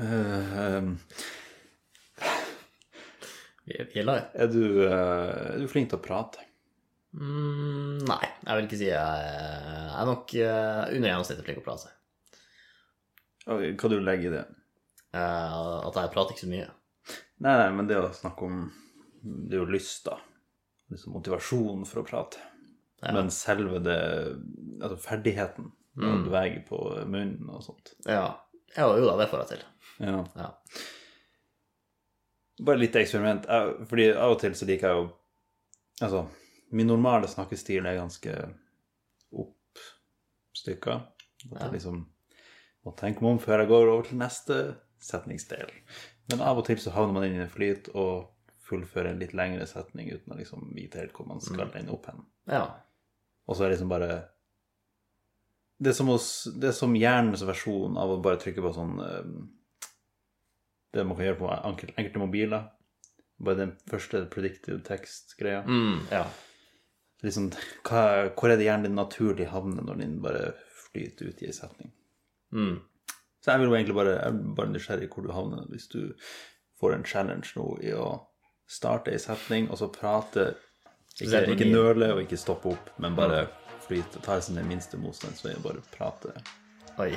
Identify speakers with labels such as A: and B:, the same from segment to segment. A: Eh,
B: Vi vi gjelder det.
A: er, du, eh, er du flink til å prate?
B: Mm, nei, jeg vil ikke si jeg jeg er nok eh, under gjennomsnittet flink til å prate.
A: Og Hva du legger i det?
B: Eh, at jeg prater ikke så mye.
A: Nei, nei, men det å snakke om Det er jo lyst, da. Liksom motivasjon for å prate.
B: Ja.
A: Men selve det Altså ferdigheten. Når du veier på munnen og sånt.
B: Ja, ja jo da, det får jeg til.
A: Ja.
B: Ja.
A: Bare litt eksperiment. Jeg, fordi av og til så liker jeg jo Altså, min normale snakkestil er ganske oppstykka. At
B: Ja.
A: jeg liksom må tenke meg om før jeg går over til neste setningsdel. Men av og til så havner man inn i en flyt og fullfører en litt lengre setning uten å liksom vite helt hvor man skal
B: Mm.
A: ende opp hen.
B: ja.
A: Og så er det liksom bare Det er som, oss, det er som hjernens versjon av å bare trykke på sånn eh, Det man kan gjøre på enkel- enkelte mobiler. Bare den første predictive text-greia.
B: Mm, ja.
A: Liksom, hva, hvor er det hjernen din naturlig havner når den bare flyter ut i en setning?
B: Mm.
A: Så jeg vil jo egentlig bare, jeg er bare nysgjerrig hvor du havner hvis du får en challenge nå i å starte ei setning, og så prate Ikke,
B: Spesielt når
A: ikke
B: min-
A: nøle og ikke stoppe opp, men bare flyte. Ta det som den minste motstandsveien, bare prate.
B: Oi.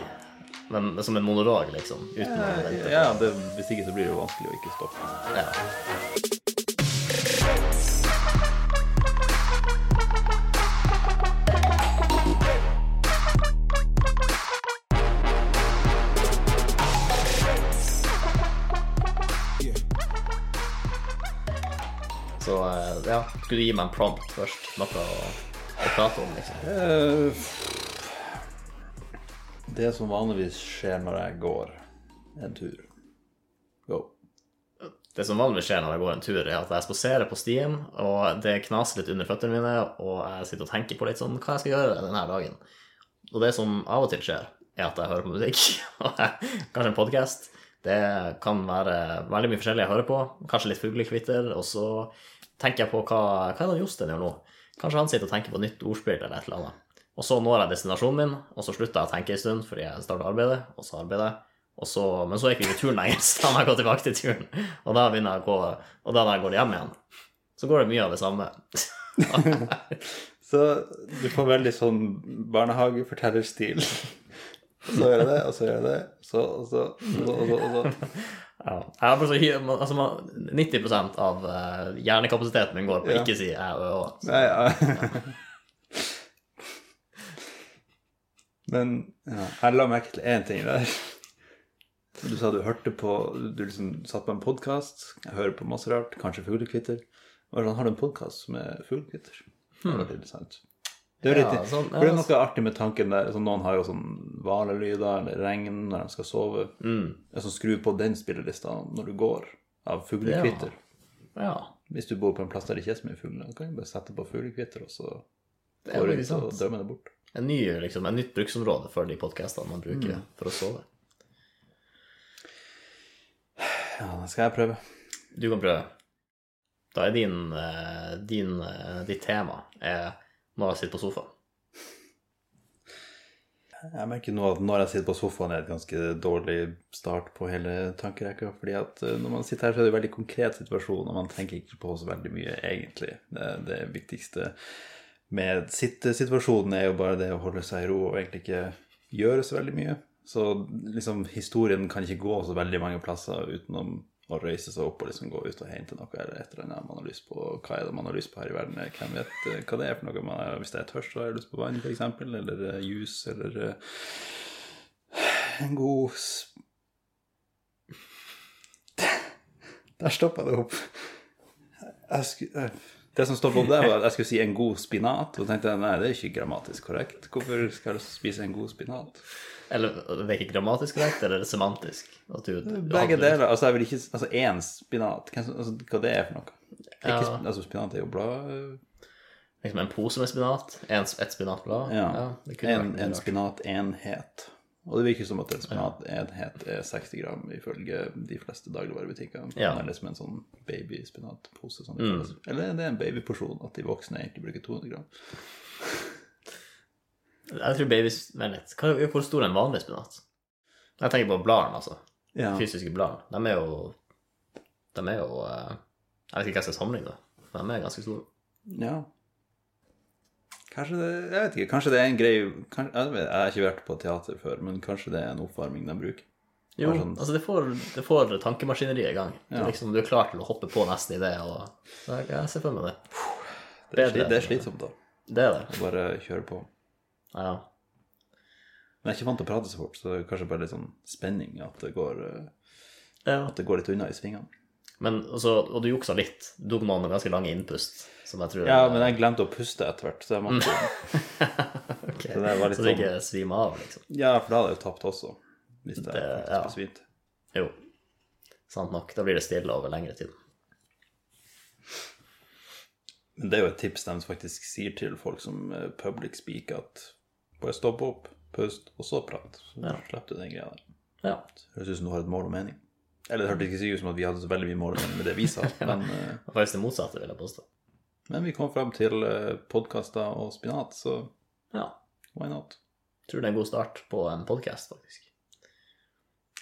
B: Men som en monolog, liksom. Uten å vente.
A: Ja, det, Hvis ikke så blir det jo vanskelig å ikke stoppe.
B: Ja. Så eh, ja, skulle du gi meg en prompt først? Noe å, å prate om, liksom?
A: Eh, Det som vanligvis skjer når jeg går en tur Go.
B: Det som vanligvis skjer når jeg går en tur, er at jeg spaserer på stien, og det knaser litt under føttene mine, og jeg sitter og tenker på litt sånn hva jeg skal gjøre denne dagen. Og det som av og til skjer, er at jeg hører på musikk, og jeg- kanskje en podkast. Det kan være veldig mye forskjellig jeg hører på, kanskje litt fuglekvitter, og så tenker jeg på hva, hva er det Jostein gjør nå? Kanskje han sitter og tenker på et nytt ordspill eller et eller annet. Og så når jeg destinasjonen min, og så slutter jeg å tenke en stund fordi jeg starter arbeidet, og så arbeider jeg. Og så, men så er ikke vi på turen lenger, så da må jeg gå tilbake til turen. Og da begynner jeg å gå, og da når jeg går hjem igjen, så går det mye av det samme.
A: Så du får veldig sånn barnehagefortellerstil. Så gjør jeg det, og så gjør jeg det, så, og så, og så, og så, og så.
B: Ja. Jeg har bare så, hy- man- altså, man- 90 av eh, hjernekapasiteten min går på
A: Ja.
B: ikke si æ, ø, å.
A: Nei, ja. Men ja, jeg la merke til én ting der. Du sa du hørte på Du liksom satt på en podkast. Jeg hører på masse rart. Kanskje fuglekvitter. Og sånn, har du en podkast med fuglekvitter? Det var veldig interessant. Det er,
B: Hmm. Ja,
A: litt,
B: sånn, ja,
A: for det er noe artig med tanken der. Så noen har jo sånn hvalelyder eller regn når de skal sove.
B: Mm.
A: Jeg så skru på den spillelista når du går, av fuglekvitter.
B: Ja.
A: Hvis du bor på en plass der det ikke er så mye fugler, da kan du bare sette på fuglekvitter, og så
B: Det
A: går
B: er
A: du
B: jo
A: ut og
B: sant.
A: drømmer det bort.
B: En ny, liksom, en nytt bruksområde for de podkastene man bruker
A: Mm.
B: for å sove.
A: Ja, det skal jeg prøve.
B: Du kan prøve. Da er din, eh, din eh, ditt tema er når jeg sitter på sofaen.
A: Jeg merker nå at når jeg sitter på sofaen, er det et ganske dårlig start på hele tankerekka. fordi at eh, når man sitter her, så er det en veldig konkret situasjon, og man tenker ikke på så veldig mye, egentlig. Det, det viktigste med sittesituasjonen er jo bare det å holde seg i ro og egentlig ikke gjøre så veldig mye. Så liksom, historien kan ikke gå så veldig mange plasser utenom å røyse seg opp og liksom gå ut og hente noe eller et eller annet man har lyst på. og Hva er det man har lyst på her i verden? Hvem vet eh, hva det er for noe? Man, har- hvis jeg er tørst, så har jeg lyst på vann, f.eks., eller eh, juice, eller eh, en god s- Der stoppa det opp. Jeg sku- eh, Det som stoppa opp der, var at jeg skulle si en god spinat. Og så tenkte jeg nei, det er ikke grammatisk korrekt. Hvorfor skal jeg spise en god spinat?
B: Eller det er ikke grammatisk korrekt, eller er det semantisk? At du, du
A: Begge
B: hadde-
A: deler. Altså, jeg vil ikke Altså, én spinat. Hvem, som- altså, hva det er for noe? Ikke,
B: Ja.
A: sp- altså, spinat er jo blad
B: Liksom en pose med spinat, en, et spinatblad.
A: Ja.
B: det kunne vært
A: en,
B: mye
A: en
B: rart.
A: spinatenhet. Og det virker som at en spinatenhet er 60 gram, ifølge de fleste dagligvarebutikker.
B: Ja. Mm.
A: Den er liksom en sånn babyspinatpose. Sånn det føles. Eller er det en babyporsjon at de voksne egentlig bruker 200 gram?
B: Jeg tror babys... Vent litt. Hva, hvor stor er en vanlig spinat? Jeg tenker på bladene, altså.
A: Ja.
B: fysiske bladene. De er jo De er jo eh, Jeg vet ikke hva jeg skal sammenligne, med, men de er ganske store.
A: ja. Kanskje det Jeg vet ikke. Kanskje det er en grei kanskje, jeg, vet, jeg har ikke vært på teater før, men kanskje det er en oppvarming de bruker.
B: Jo,
A: Bare sånn-
B: altså det får, det får tankemaskineriet i gang. Du,
A: Ja.
B: liksom, du er klar til å hoppe på neste idé. Og, ja, jeg ser for meg det.
A: Det er,
B: Bedre
A: sli- det er
B: enn-
A: slitsomt, da.
B: Det er det.
A: å Bare kjøre på.
B: Ja.
A: Men jeg er ikke vant til å prate så fort, så det er kanskje bare litt sånn spenning at det går, eh,
B: ja.
A: at det går litt unna i svingene.
B: Men, altså, og du juksa litt. Du tok noen ganske lange innpust, som jeg tror
A: Ja, men jeg glemte å puste etter hvert, så jeg måtte
B: Mm. Ok.
A: det der var litt sånn-
B: Så du ikke svimer av, liksom.
A: Ja, for da hadde jeg jo tapt også, hvis jeg
B: Det-
A: faktisk
B: ja.
A: besvimte.
B: Jo. Sant nok. Da blir det stille over lengre tid.
A: Men det er jo et tips de faktisk sier til folk som eh, public speak, at bare stopp opp, pust, og så prat. Så
B: Ja.
A: slipper du den greia der.
B: Ja.
A: Det Høres ut som du har et mål og mening. Eller det hørtes ikke så ut som at vi hadde så veldig mye mål og mening med det vi sa, men, eh,
B: Det var Faktisk det motsatte, vil jeg påstå.
A: men vi kom fram til podkaster og spinat, så
B: Ja.
A: why not?
B: Tror det er en god start på en podkast, faktisk.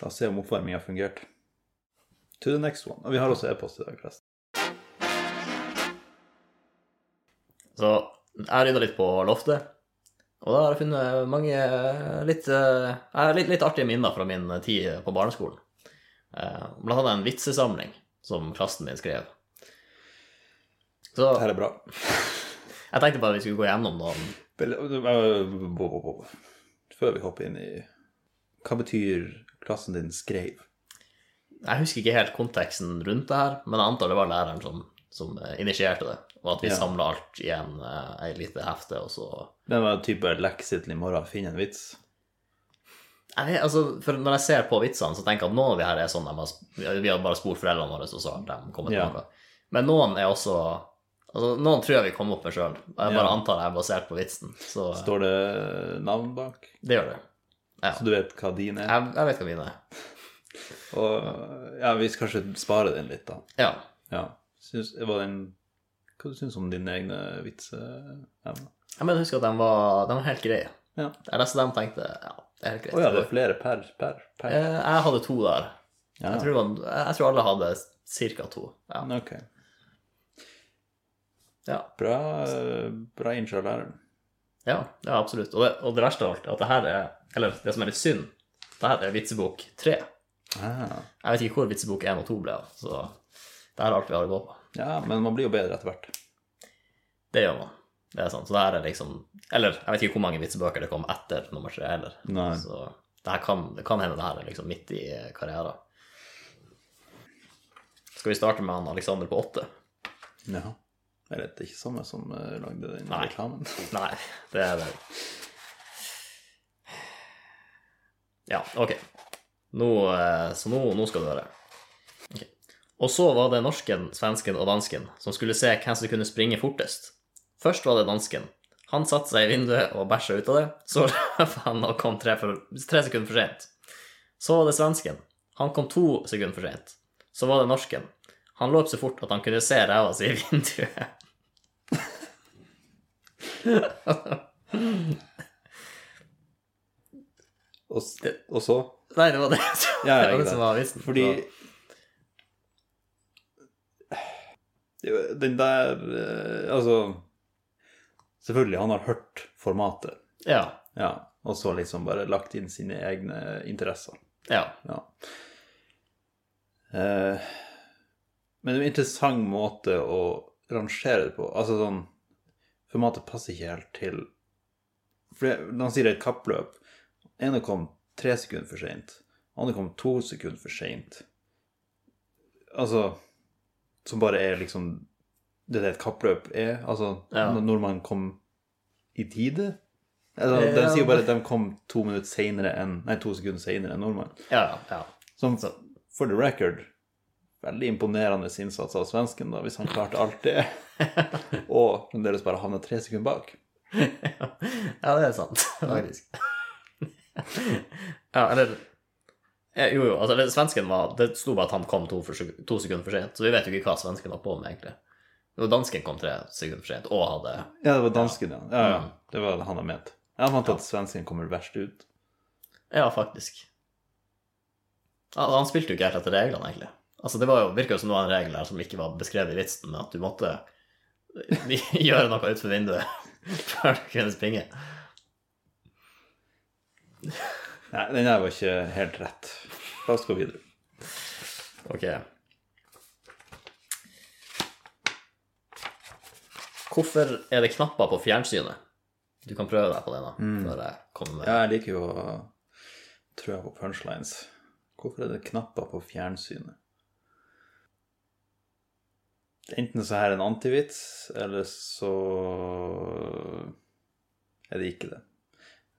A: La oss se om oppvarminga fungerte. To the next one. Og vi har også e-post i dag, forresten.
B: Så jeg rydda litt på loftet, og da har jeg funnet mange litt, eh, eh, litt, litt artige minner fra min tid på barneskolen. Eh, Blant annet en vitsesamling som klassen min skrev. Så
A: Det her er bra.
B: jeg tenkte bare vi skulle gå gjennom noen
A: Vel, øh, bo, bo, bo. Før vi hopper inn i Hva betyr klassen din skreiv?
B: Jeg husker ikke helt konteksten rundt det her, men jeg antar det var læreren som, som eh, initierte det, og at vi
A: Ja.
B: samlet samla alt i en, eh, ei lite hefte, og så
A: Den var type lekse til i morgen, finn en vits.
B: jeg vet, altså, for Når jeg ser på vitsene, så tenker jeg at noen av de her er sånn de har, Vi har bare spurt foreldrene våre, og så har de kommet
A: Ja.
B: på noe. Men noen er også altså, Noen tror jeg vi kom opp med sjøl. Jeg bare
A: Ja.
B: antar det er basert på vitsen. Så eh,
A: Står det navn bak,
B: det gjør det.
A: så du vet hva din er?
B: Jeg, jeg vet hva mine er.
A: Og ja, vi skal kanskje spare den litt, da.
B: Ja.
A: Ja. Syns, var den, hva du syns du om dine egne vitseevner?
B: Jeg mener, jeg husker at de var, de var helt greie.
A: Ja.
B: Jeg leste dem og tenkte ja, det er helt
A: Å
B: greit.
A: ja, det er flere per, per,
B: Eh,
A: per.
B: Jeg hadde to der.
A: Ja.
B: Jeg, tror det var- jeg tror alle hadde ca. to. Ja.
A: Ok.
B: Ja.
A: Bra, øh, bra innsjø av læreren.
B: ja, ja, absolutt. Og det, og det verste av alt, at det her er Eller det som er litt synd, det her er vitsebok tre.
A: Ah.
B: Jeg vet ikke hvor vitsebok én og to ble av, så det her er alt vi har å gå på.
A: Ja, men man blir jo bedre etter hvert.
B: Det gjør man. Det er sant. Så det her er liksom Eller jeg vet ikke hvor mange vitsebøker det kom etter nummer tre heller.
A: Nei.
B: Så det her kan, det kan hende det her er liksom midt i karrieren. Skal vi starte med han Alexander på åtte?
A: Ja. Eller det er ikke samme som eh, lagde den
B: Nei.
A: reklamen.
B: Nei, det er det. Ja, ok. Nå, eh, så nå, nå skal du høre. Ok. Og så var det norsken, svensken og dansken som skulle se hvem som kunne springe fortest. Først var det dansken. Han satte seg i vinduet og bæsja ut av det. Så løp han og kom tre, for, tre sekunder for sent. Så var det svensken. Han kom to sekunder for sent. Så var det norsken. Han løp så fort at han kunne se ræva si i vinduet.
A: Og, s- og så
B: Nei, det var det, som-
A: Ja, ja,
B: det, var
A: ikke
B: det som
A: sant.
B: var vitsen.
A: Fordi
B: Så-
A: Det er jo- Den der eh, Altså Selvfølgelig, han har hørt formatet,
B: Ja.
A: ja. Og så liksom bare lagt inn sine egne interesser.
B: Ja.
A: Ja. Eh, men det er en interessant måte å rangere det på. Altså sånn Formatet passer ikke helt til For det, når han sier det er et kappløp Den ene kom tre sekunder for seint. Den andre kom to sekunder for seint. Altså Som bare er liksom Det er det et kappløp er. Altså
B: Ja.
A: når- når man kom i tide. Eller,
B: Ja.
A: De sier jo bare at de kom to minutter senere enn, nei, to sekunder seinere enn nordmannen.
B: ja, ja.
A: Som for the record Veldig imponerende innsats av svensken, da, hvis han klarte alt det. Og fremdeles bare havna tre sekunder bak.
B: Ja, det er sant, faktisk. ja, eller eh, Jo, jo, altså det, svensken var Det sto bare at han kom to, for, sek- to sekunder for sent, så vi vet jo ikke hva svensken var på med, egentlig. Jo, dansken kom tre sekunder for sent og hadde
A: Ja, det var dansken, ja. ja, ja. Det var han jeg mente. Jeg fant at svensken kommer verst ut.
B: Ja, faktisk. Ja, Altså, han spilte jo ikke helt etter reglene, egentlig. Altså, Det var jo, virka jo som det var en regel der som ikke var beskrevet i vitsen, men at du måtte gjøre noe utenfor vinduet før du kunne springe.
A: Nei, den her var ikke helt rett. La oss gå videre.
B: Ok. Hvorfor er det knapper på fjernsynet? Du kan prøve deg på det, da. før jeg kommer med.
A: Ja, jeg liker jo å trø på punchlines. Hvorfor er det knapper på fjernsynet? Enten så her er en antivits, eller så er det ikke det.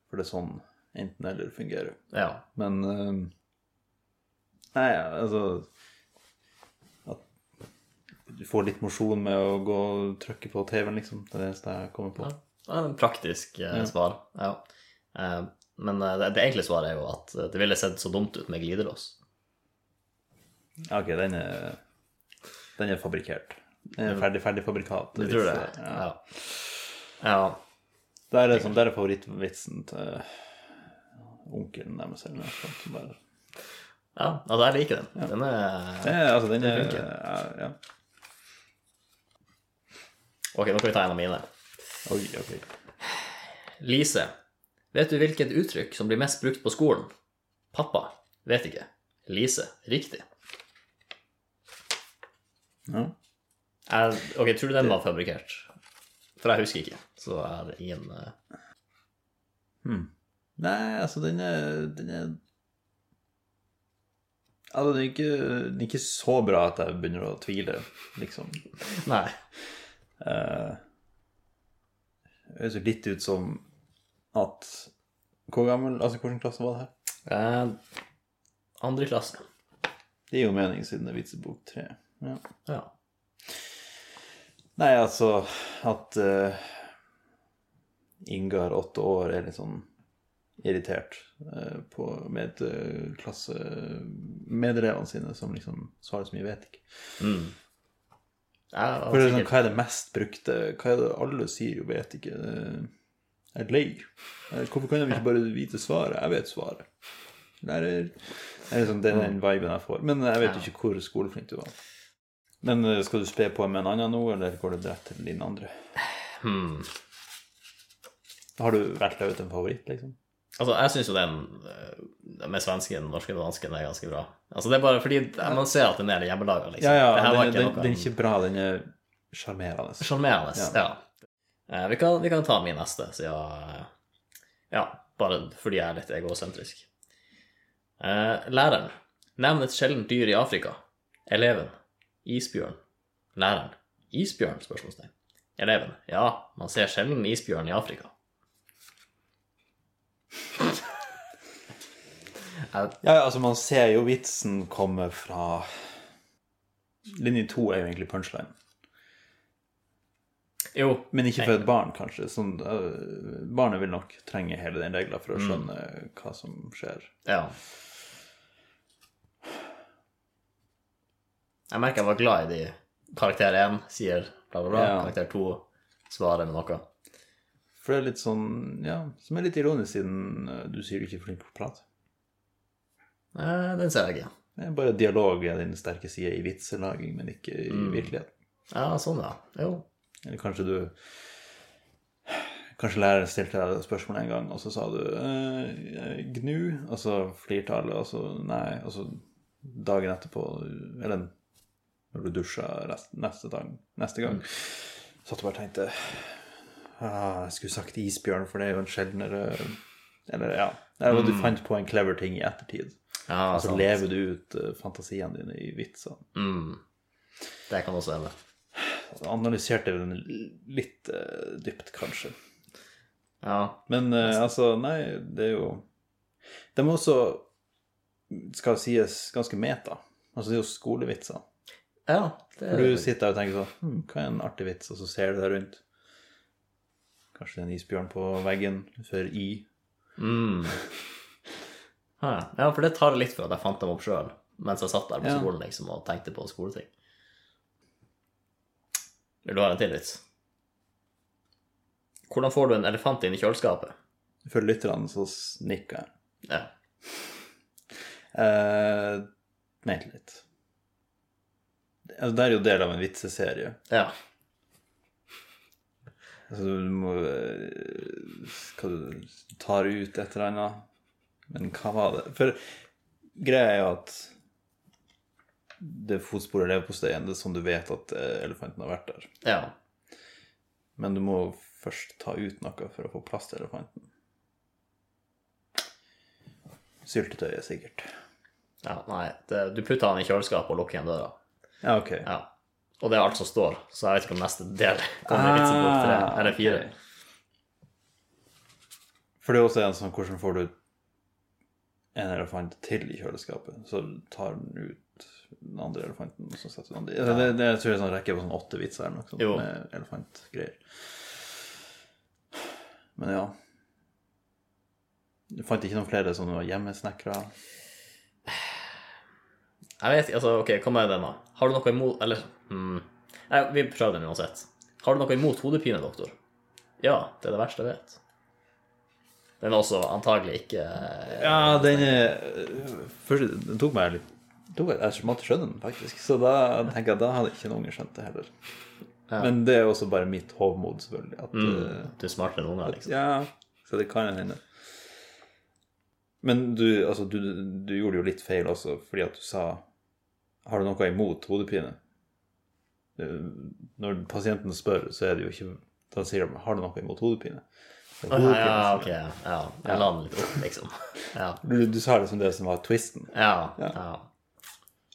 A: For det er sånn enten-eller fungerer.
B: Ja.
A: Men eh, Nei, altså At du får litt mosjon med å gå og trykke på TV-en, liksom. Det er det eneste jeg kommer på.
B: Ja. Det er en praktisk eh, svar. Ja. Eh, men eh, det, det enkle svaret er jo at eh, det ville sett så dumt ut med glidelås.
A: Ja, Ok, den er, den er fabrikkert. Den er ferdig, ferdig fabrikat.
B: Du tror det?
A: Ja.
B: Ja. ja.
A: Der er, sånn, der er favorittvitsen til onkelen deres. eller noe sånt, som bare-
B: ja. Altså, jeg liker den. Den er
A: Det er- Altså, den er
B: funker.
A: ja, ja.
B: Ok, nå kan vi ta en av mine.
A: Oi, ok.
B: Lise, vet du hvilket uttrykk som blir mest brukt på skolen? Pappa. Vet ikke. Lise. Riktig.
A: Ja.
B: Jeg, ok, tror du den var fabrikkert? For jeg husker ikke. Så er det ingen eh,
A: Hmm. Nei, altså, den er, den er Altså, den er, ikke, den er ikke så bra at jeg begynner å tvile, liksom.
B: Nei.
A: Eh, Det høres jo litt ut som at Hvor gammel, altså, hvilken klasse var det her?
B: Eh, andre klasse.
A: Det gir jo mening siden det er vitsebok tre. Ja.
B: Ja.
A: Nei, altså at eh, Ingar, åtte år, er litt sånn irritert eh, på med eh, klasse medelevene sine, som liksom svarer så mye, vet ikke.
B: Mm. Jeg, var
A: For det er sånn,
B: sikkert-
A: Hva er det mest brukte? Hva er det alle sier jo, vet ikke? Eh, Jeg er lei. Eh, Hvorfor kan de ikke bare vite svaret? Jeg vet svaret. Lærer Det er liksom det er den viben jeg får. Men jeg vet jo ikke hvor skoleflink du var. Men eh, skal du spe på med en annen nå, eller går du rett til din andre? sånn-
B: hmm.
A: Har du valgt ut en favoritt, liksom?
B: Altså, jeg syns jo den eh, med svensken, norsken og dansken er ganske bra. Altså, det er bare fordi man ser at den er hjemmelaga, liksom.
A: Ja, ja.
B: det her
A: Den,
B: var
A: den,
B: ikke
A: den,
B: noe
A: er ikke bra. Den er sjarmerende.
B: sjarmerende.
A: Ja.
B: Ja. Eh, vi, kan, vi kan ta min neste, siden eh, Ja, bare fordi jeg er litt egosentrisk. Eh, læreren. Nevn et sjeldent dyr i Afrika. Eleven. Isbjørn. Læreren. Isbjørn? spørsmålstegn. Eleven. Ja, man ser sjelden isbjørn i Afrika.
A: Ja, ja, altså, man ser jo vitsen komme fra Linje to er jo egentlig punchline.
B: Jo,
A: Men ikke for et barn, kanskje. Sånn, øh, barnet vil nok trenge hele den regla for å
B: Mm.
A: skjønne hva som skjer.
B: Ja. Jeg merker jeg var glad i de. Karakter 1 sier bla, bla, bla.
A: Ja.
B: Karakter 2 svarer med noe.
A: For det er litt sånn, ja, som er litt ironisk, siden øh, du sier du ikke er flink til å prate.
B: Eh, den ser jeg ikke.
A: Det er bare dialog er din sterke side i vitselaging, men ikke i
B: Mm.
A: virkeligheten.
B: Ja, sånn, ja. Jo.
A: Eller kanskje du Kanskje læreren stilte deg spørsmålet en gang, og så sa du eh, gnu, og så flirte alle, og så nei, og så dagen etterpå, eller når du dusja rest- neste, dag, neste gang, satt du bare og tenkte ah, Jeg skulle sagt isbjørn, for det er jo en sjeldnere Eller ja. Eller du fant på en clever ting i ettertid.
B: Ja,
A: Og så
B: sant.
A: lever du ut eh, fantasiene dine i vitsene.
B: Mm. Det kan også hende.
A: Analyserte den litt eh, dypt, kanskje.
B: Ja.
A: Men eh, altså, nei, det er jo De er også, skal sies, ganske meta. Altså, det er jo skolevitser.
B: ja det
A: For du sitter der og tenker sånn hm, Hva er en artig vits? Og så ser du deg rundt. Kanskje det er en isbjørn på veggen for i.
B: mm. Hæ. Ja, for det tar det litt for at jeg fant dem opp sjøl mens jeg satt der på
A: Ja.
B: skolen liksom, og tenkte på skoleting. Vil du ha en til vits? Hvordan får du en elefant inn i kjøleskapet?
A: For lytterne så nikker jeg.
B: Ja.
A: Eh, vent litt. Altså, det er jo del av en vitseserie.
B: Ja.
A: Altså, du må eh, Hva du tar ut et eller annet. Men hva var det? For greia er jo at det fotsporet leverposteien, det er sånn du vet at eh, elefanten har vært der.
B: ja.
A: Men du må først ta ut noe for å få plass til elefanten. Syltetøyet, sikkert.
B: ja nei, det, du putter han i kjøleskapet og lukker igjen døra.
A: Ja, ok.
B: Ja. Og det er alt som står, så jeg vet ikke om neste del kommer i vitsebok tre
A: Ah,
B: eller fire.
A: ok. For det er også en sånn Hvordan får du en elefant til i kjøleskapet? Så tar den ut den andre elefanten, og så setter du den andre altså, det, det, Jeg tror det er sånn rekke på sånn åtte vitser eller noe sånt
B: Jo.
A: med elefantgreier. Men ja. Du fant ikke noen flere sånne hjemmesnekra?
B: Jeg vet, altså, ok, hva med den da? Har du noe imot, eller, hmm, nei, vi prøver den uansett. Har du noe imot hodepine, doktor? Ja, det er det verste jeg vet. Den er også antagelig ikke, eh,
A: Ja, den er Først, den tok meg litt tok meg- Jeg måtte skjønne den, faktisk. Så da tenker jeg da hadde ikke noen unge skjønt det heller.
B: Ja.
A: Men det er også bare mitt hovmod, selvfølgelig. At, eh,
B: du er smartere enn unger, liksom.
A: Ja, så det kan hende. Men du, altså, du, du gjorde jo litt feil også, fordi at du sa Har du noe imot hodepine? Du- Når pasienten spør, så er det jo ikke Da sier de Har du noe imot hodepine? Det er
B: Ja,
A: hodepine
B: ja,
A: som-
B: ok, ja, jeg la den litt opp, liksom. Ja,
A: du, du sa det som det som var twisten.
B: ja, ja,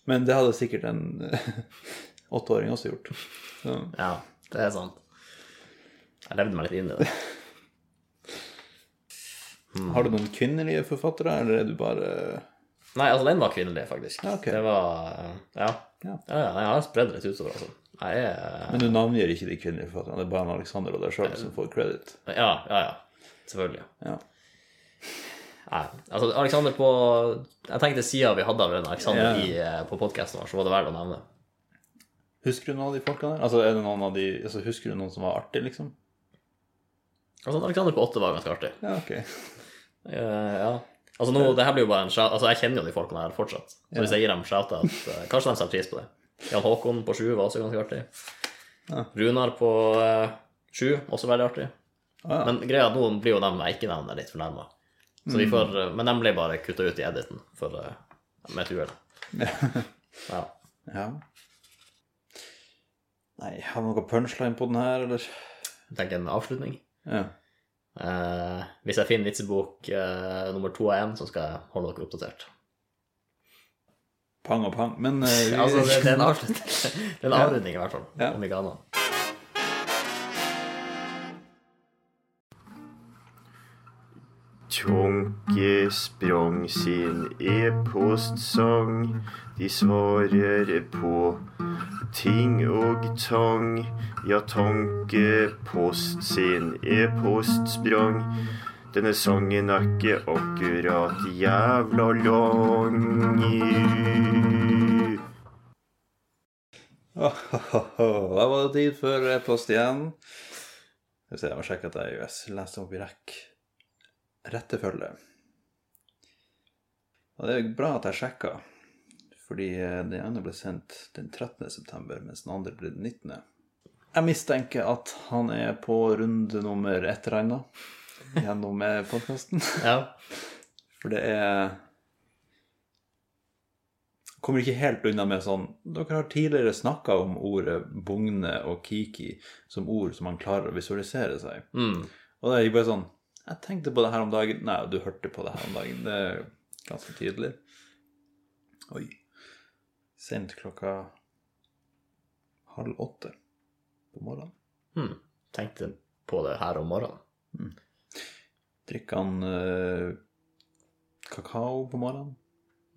A: Men det hadde sikkert en eh, åtteåring også gjort. Så.
B: ja, det er sant. Jeg levde meg litt inn i det. Mm.
A: Har du noen kvinnelige forfattere, eller er du bare
B: Nei, altså den var kvinnelig, faktisk.
A: Ja, ok.
B: Det var eh, Ja.
A: Ja.
B: ja. ja jeg har spredd litt utover, altså. Jeg er
A: Men du navngir ikke de kvinnelige forfatterne, det er bare en Alexander og deg sjøl
B: Eh,
A: som får credit.
B: Ja, ja, ja. Selvfølgelig.
A: Ja.
B: Nei, altså Alexander på Jeg tenkte siden vi hadde den Alexander
A: Ja, ja.
B: i, eh, på podkasten vår, så var det verdt å nevne.
A: Husker du noen av de folkene der? Altså, er det noen av de, altså, husker du noen som var artig, liksom?
B: Altså Alexander på åtte var ganske artig.
A: Ja, ok.
B: Eh, ja. Altså nå, det her blir jo bare en shout Altså jeg kjenner jo de folkene her fortsatt. Så hvis jeg gir dem shout-out, eh, kanskje de setter pris på det. Jan Håkon på sju var også ganske artig.
A: Ja.
B: Runar på eh, sju, også veldig artig.
A: Ah, ja.
B: Men greia er at noen blir jo dem jeg ikke nevner, litt fornærma. Så vi får, eh, men de ble bare kutta ut i editen for, eh, med et uhell. Ja.
A: ja. Nei, har vi noe punchline på den her, eller?
B: Jeg tenker en avslutning.
A: Ja.
B: Eh, hvis jeg finner vitsebok eh, nummer to av én, så skal jeg holde dere oppdatert.
A: Pang og pang. Men eh, vi...
B: Altså, det, det er en avslutning. Det er en avrunding, i hvert fall.
A: Ja.
B: Om ikke annet.
C: Tjonke sprang sin e-postsang. De svarer på ting og tang. Ja, tankepost sin e-post sprang. Denne sangen er ikke akkurat jævla lang.
A: Da var det tid for e-post igjen. Skal vi se, jeg må sjekke at jeg er US. Leste opp i rekk. Rettefølge. Og det er jo bra at jeg sjekka, fordi eh, den ene ble sendt den 13. september, mens den andre ble den 19. Jeg mistenker at han er på runde nummer et eller annet gjennom eh, podkasten.
B: Ja.
A: For det er Kommer ikke helt unna med sånn Dere har tidligere snakka om ordet bugne og kiki som ord som man klarer å visualisere seg.
B: Mm.
A: Og da er jeg bare sånn Jeg tenkte på det her om dagen. Nei, du hørte på det her om dagen. Det er ganske tydelig. Oi. Sent klokka halv åtte på morgenen.
B: Hmm. Tenkte på det her om morgenen.
A: Drikker han eh, kakao på morgenen?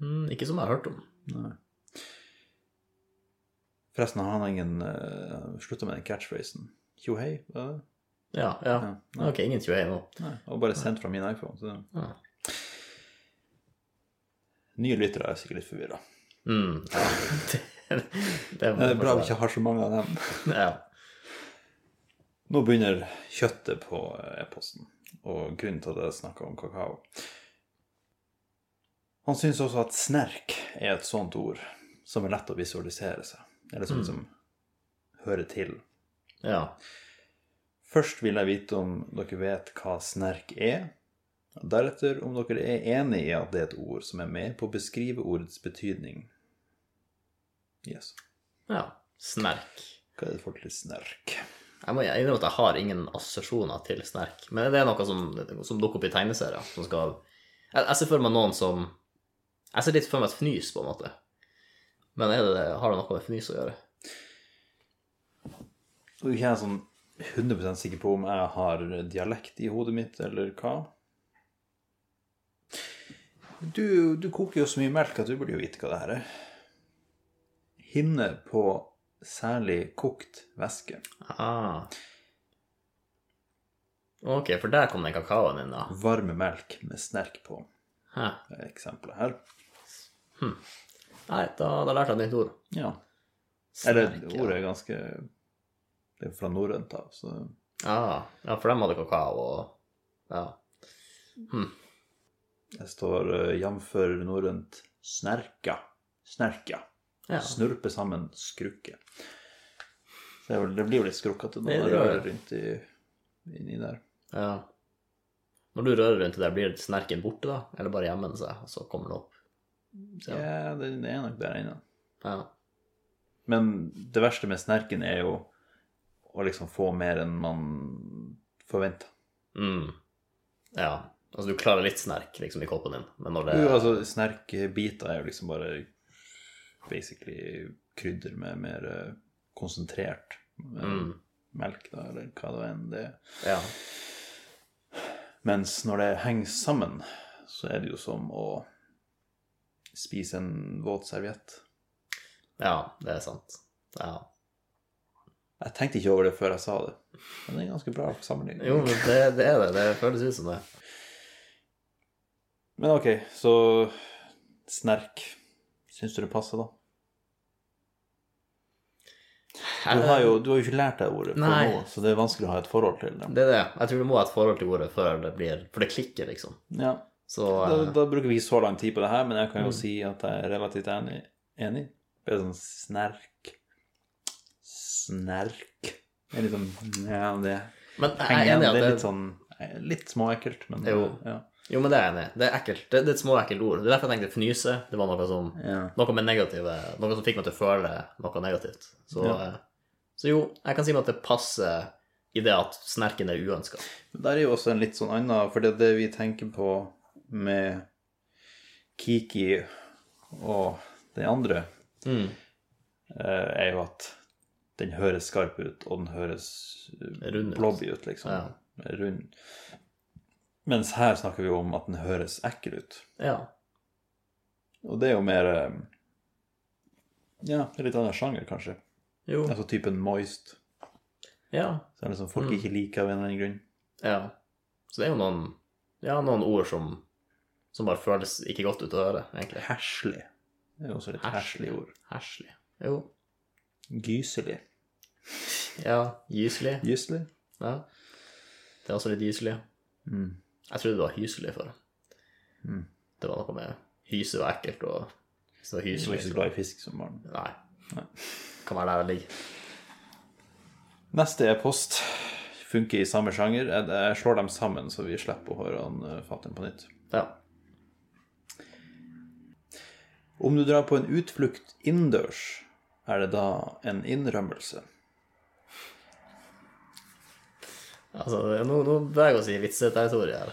B: Hmm, ikke som jeg har hørt om.
A: Nei. Forresten har han ingen uh, slutta med den catchphrasen. Tjo hei. var det det?
B: Ja, ja.
A: Ja, nei.
B: Ok, ingen 21 nå.
A: Nei, det var bare sendt fra min iPhone. Så.
B: Ja.
A: Nye lyttere er sikkert litt forvirra.
B: Mm, ja. Det, det
A: Det
B: var
A: er bra vi ikke har så mange av dem.
B: Ja.
A: Nå begynner kjøttet på eh, e-posten, og grunnen til at jeg snakka om kakao. Han syns også at snerk er et sånt ord som er lett å visualisere seg, eller sånn som hører til.
B: Ja.
A: Først vil jeg vite om dere vet hva snerk er. Deretter om dere er enig i at det er et ord som er med på å beskrive ordets betydning. Yes.
B: ja. Snerk.
A: Hva er det folk til snerk?
B: Jeg må innrømme at jeg har ingen assosiasjoner til snerk. Men det er noe som, som dukker opp i tegneserier. Som skal jeg, jeg ser for meg noen som Jeg ser litt for meg et fnys, på en måte. Men er det, det- har det noe med fnys å gjøre?
A: Og ikke jeg er sånn 100 sikker på om jeg har dialekt i hodet mitt, eller hva. Du, du koker jo så mye melk at du burde jo vite hva det her er. Hinne på særlig kokt væske.
B: Ah. Ok, for der kom den kakaoen inn, da.
A: Varme melk med snerk på,
B: Hæ.
A: er eksempelet her.
B: Nei, da, da lærte jeg et nytt ord.
A: Ja. Eller
B: Snerk, ja.
A: ordet er ganske Det er fra norrønt av, så
B: Ah, ja, for dem hadde kakao og Ja.
A: det står eh, jamfør norrønt snerka. Snerka.
B: ja.
A: Snurpe sammen skrukke. Så det, er vel, det blir jo litt skrukkete når
B: Det
A: man
B: gjør
A: rører
B: det.
A: rundt i, inni der.
B: ja. Når du rører rundt i det, blir snerken borte, da? Eller bare gjemmer den seg, og så kommer den opp?
A: Ja,
B: Ja.
A: det, det er nok der inne.
B: Ja.
A: Men det verste med snerken er jo å liksom få mer enn man forventer.
B: Mm. ja. Altså, du klarer litt snerk liksom i koppen din, men når det
A: Jo, altså, snerkbiter er jo liksom bare basically krydder med mer eh, konsentrert eh,
B: mm.
A: melk, da, eller hva det enn det er.
B: Ja.
A: Mens når det henger sammen, så er det jo som å spise en våt serviett.
B: ja, det er sant. Ja.
A: Jeg tenkte ikke over det før jeg sa det, men det er ganske bra sammenligning.
B: Jo, men det, det er det. Det føles ut som det.
A: Men ok, så snerk. Syns du det passer, da? Du har jo, du har jo ikke lært deg ordet før
B: Eh. Nei.
A: nå, så det er vanskelig å ha et forhold til det.
B: Det er det. Jeg tror du må ha et forhold til ordet før det blir For det klikker, liksom.
A: Ja.
B: Så
A: Da,
B: eh, Mm.
A: da bruker vi ikke så lang tid på det her, men jeg kan jo si at jeg er relativt enig. enig. Det er sånn snerk Snerk Det er litt sånn Ja, det
B: Men jeg
A: henger
B: er
A: igjen.
B: enig i
A: Det er
B: at
A: litt
B: det
A: sånn Litt småekkelt, men
B: Jo.
A: Ja.
B: Jo, men det er jeg enig i. Det er ekkelt. Det, det er et småekkelt ord. Det er derfor jeg tenkte fnyse. Det var noe som
A: ja.
B: noe med negative Noe som fikk meg til å føle noe negativt. Så,
A: Ja.
B: eh, så jo, jeg kan si meg at det passer i det at snerken er uønska.
A: Men Der er jo også en litt sånn annen, for det er det vi tenker på med Kiki og det andre,
B: Mm.
A: eh, er jo at den høres skarp ut, og den høres eh,
B: Rund ut.
A: blobby ut, liksom.
B: Ja.
A: Rund. Mens her snakker vi jo om at den høres ekkel ut.
B: Ja.
A: Og det er jo mer eh, Ja, det er litt annen sjanger, kanskje.
B: Jo.
A: Altså typen moist.
B: Ja.
A: Så er det som folk
B: Mm.
A: ikke liker av en eller annen grunn.
B: ja. Så det er jo noen Ja, noen ord som som bare føles ikke godt ut å høre, egentlig.
A: Herslig. Det er jo også litt
B: Herslig.
A: herslig ord.
B: Herslig. Jo.
A: Gyselig.
B: Ja. Gyselig.
A: Gyselig?
B: Ja. Det er også litt gyselig.
A: Mm.
B: Jeg trodde det var hyselig før.
A: Mm.
B: Det var noe med hyse og ekkelt og så det var
A: Jeg var
B: hyselig.
A: ikke så glad i fisk som barn.
B: Nei. Kan være der det ligger.
A: Neste er post. Funker i samme sjanger. Jeg, jeg slår dem sammen, så vi slipper å høre han eh, fatter'n på nytt.
B: Ja.
A: Om du drar på en utflukt innendørs, er det da en innrømmelse?
B: Altså, det- nå, nå beveger vi oss i vitseterritoriet her.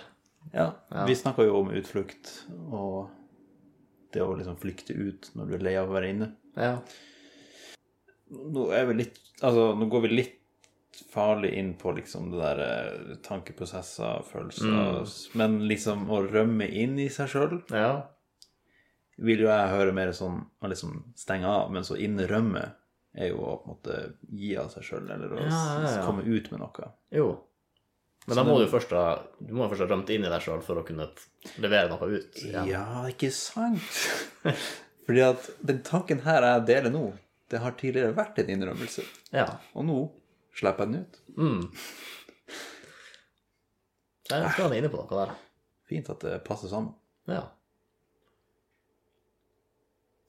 A: Ja, vi snakka jo om utflukt og det å liksom flykte ut når du er lei av å være inne.
B: Ja.
A: Nå er vi litt Altså, nå går vi litt farlig inn på liksom det der eh, tankeprosesser, følelser
B: Mm.
A: Men liksom å rømme inn i seg sjøl
B: ja.
A: vil jo jeg høre mer sånn å liksom stenge av, men så innrømme er jo å på en måte gi av seg sjøl, eller å s-
B: Ja, ja, ja.
A: komme ut med noe.
B: Jo. Men da må du først ha du må først ha rømt inn i deg sjøl for å kunne levere noe ut.
A: Ja,
B: igjen.
A: ikke sant? Fordi at den tanken her jeg deler nå, det har tidligere vært en innrømmelse,
B: ja.
A: og nå slipper jeg den ut.
B: Mm. Jeg tror han er inne på noe der.
A: Fint at det passer sammen.
B: Ja.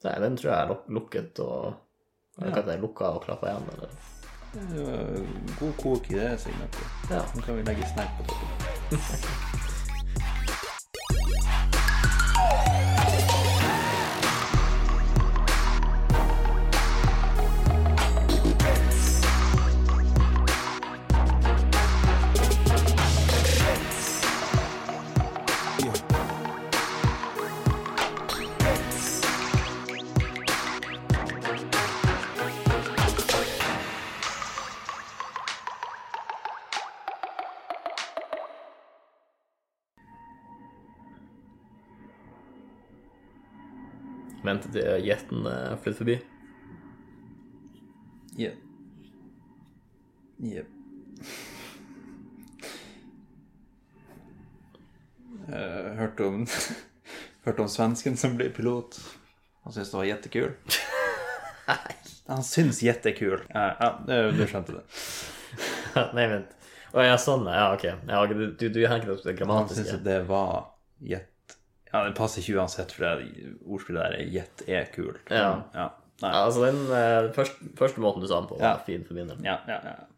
B: Nei, den tror jeg er luk- lukket og Jeg vet ikke om det er lukka og klappa igjen, eller
A: Det var God kok i det segmentet.
B: Ja.
A: Nå kan vi legge snap på toppen.
B: Vente til gjetten eh, flytter forbi.
A: Yeah. Yep. Eh, hørte om Hørte om svensken som blir pilot. Han syntes det var jettekul. Han syns jettekul. Ja, ja, du du skjønte det.
B: Nei, vent. Å ja, sånn, ja, ok. Ja, ok, du, du, du henger ikke opp det
A: Han syntes
B: grammatiske.
A: at det var jett... Ja, det passer ikke uansett, for det ordspillet der er 'jett er kul'.
B: Ja.
A: Ja. Nei.
B: Ja, altså, den eh, først, første måten du sa den på, var
A: Ja.
B: fin for min del.
A: Ja, ja, ja.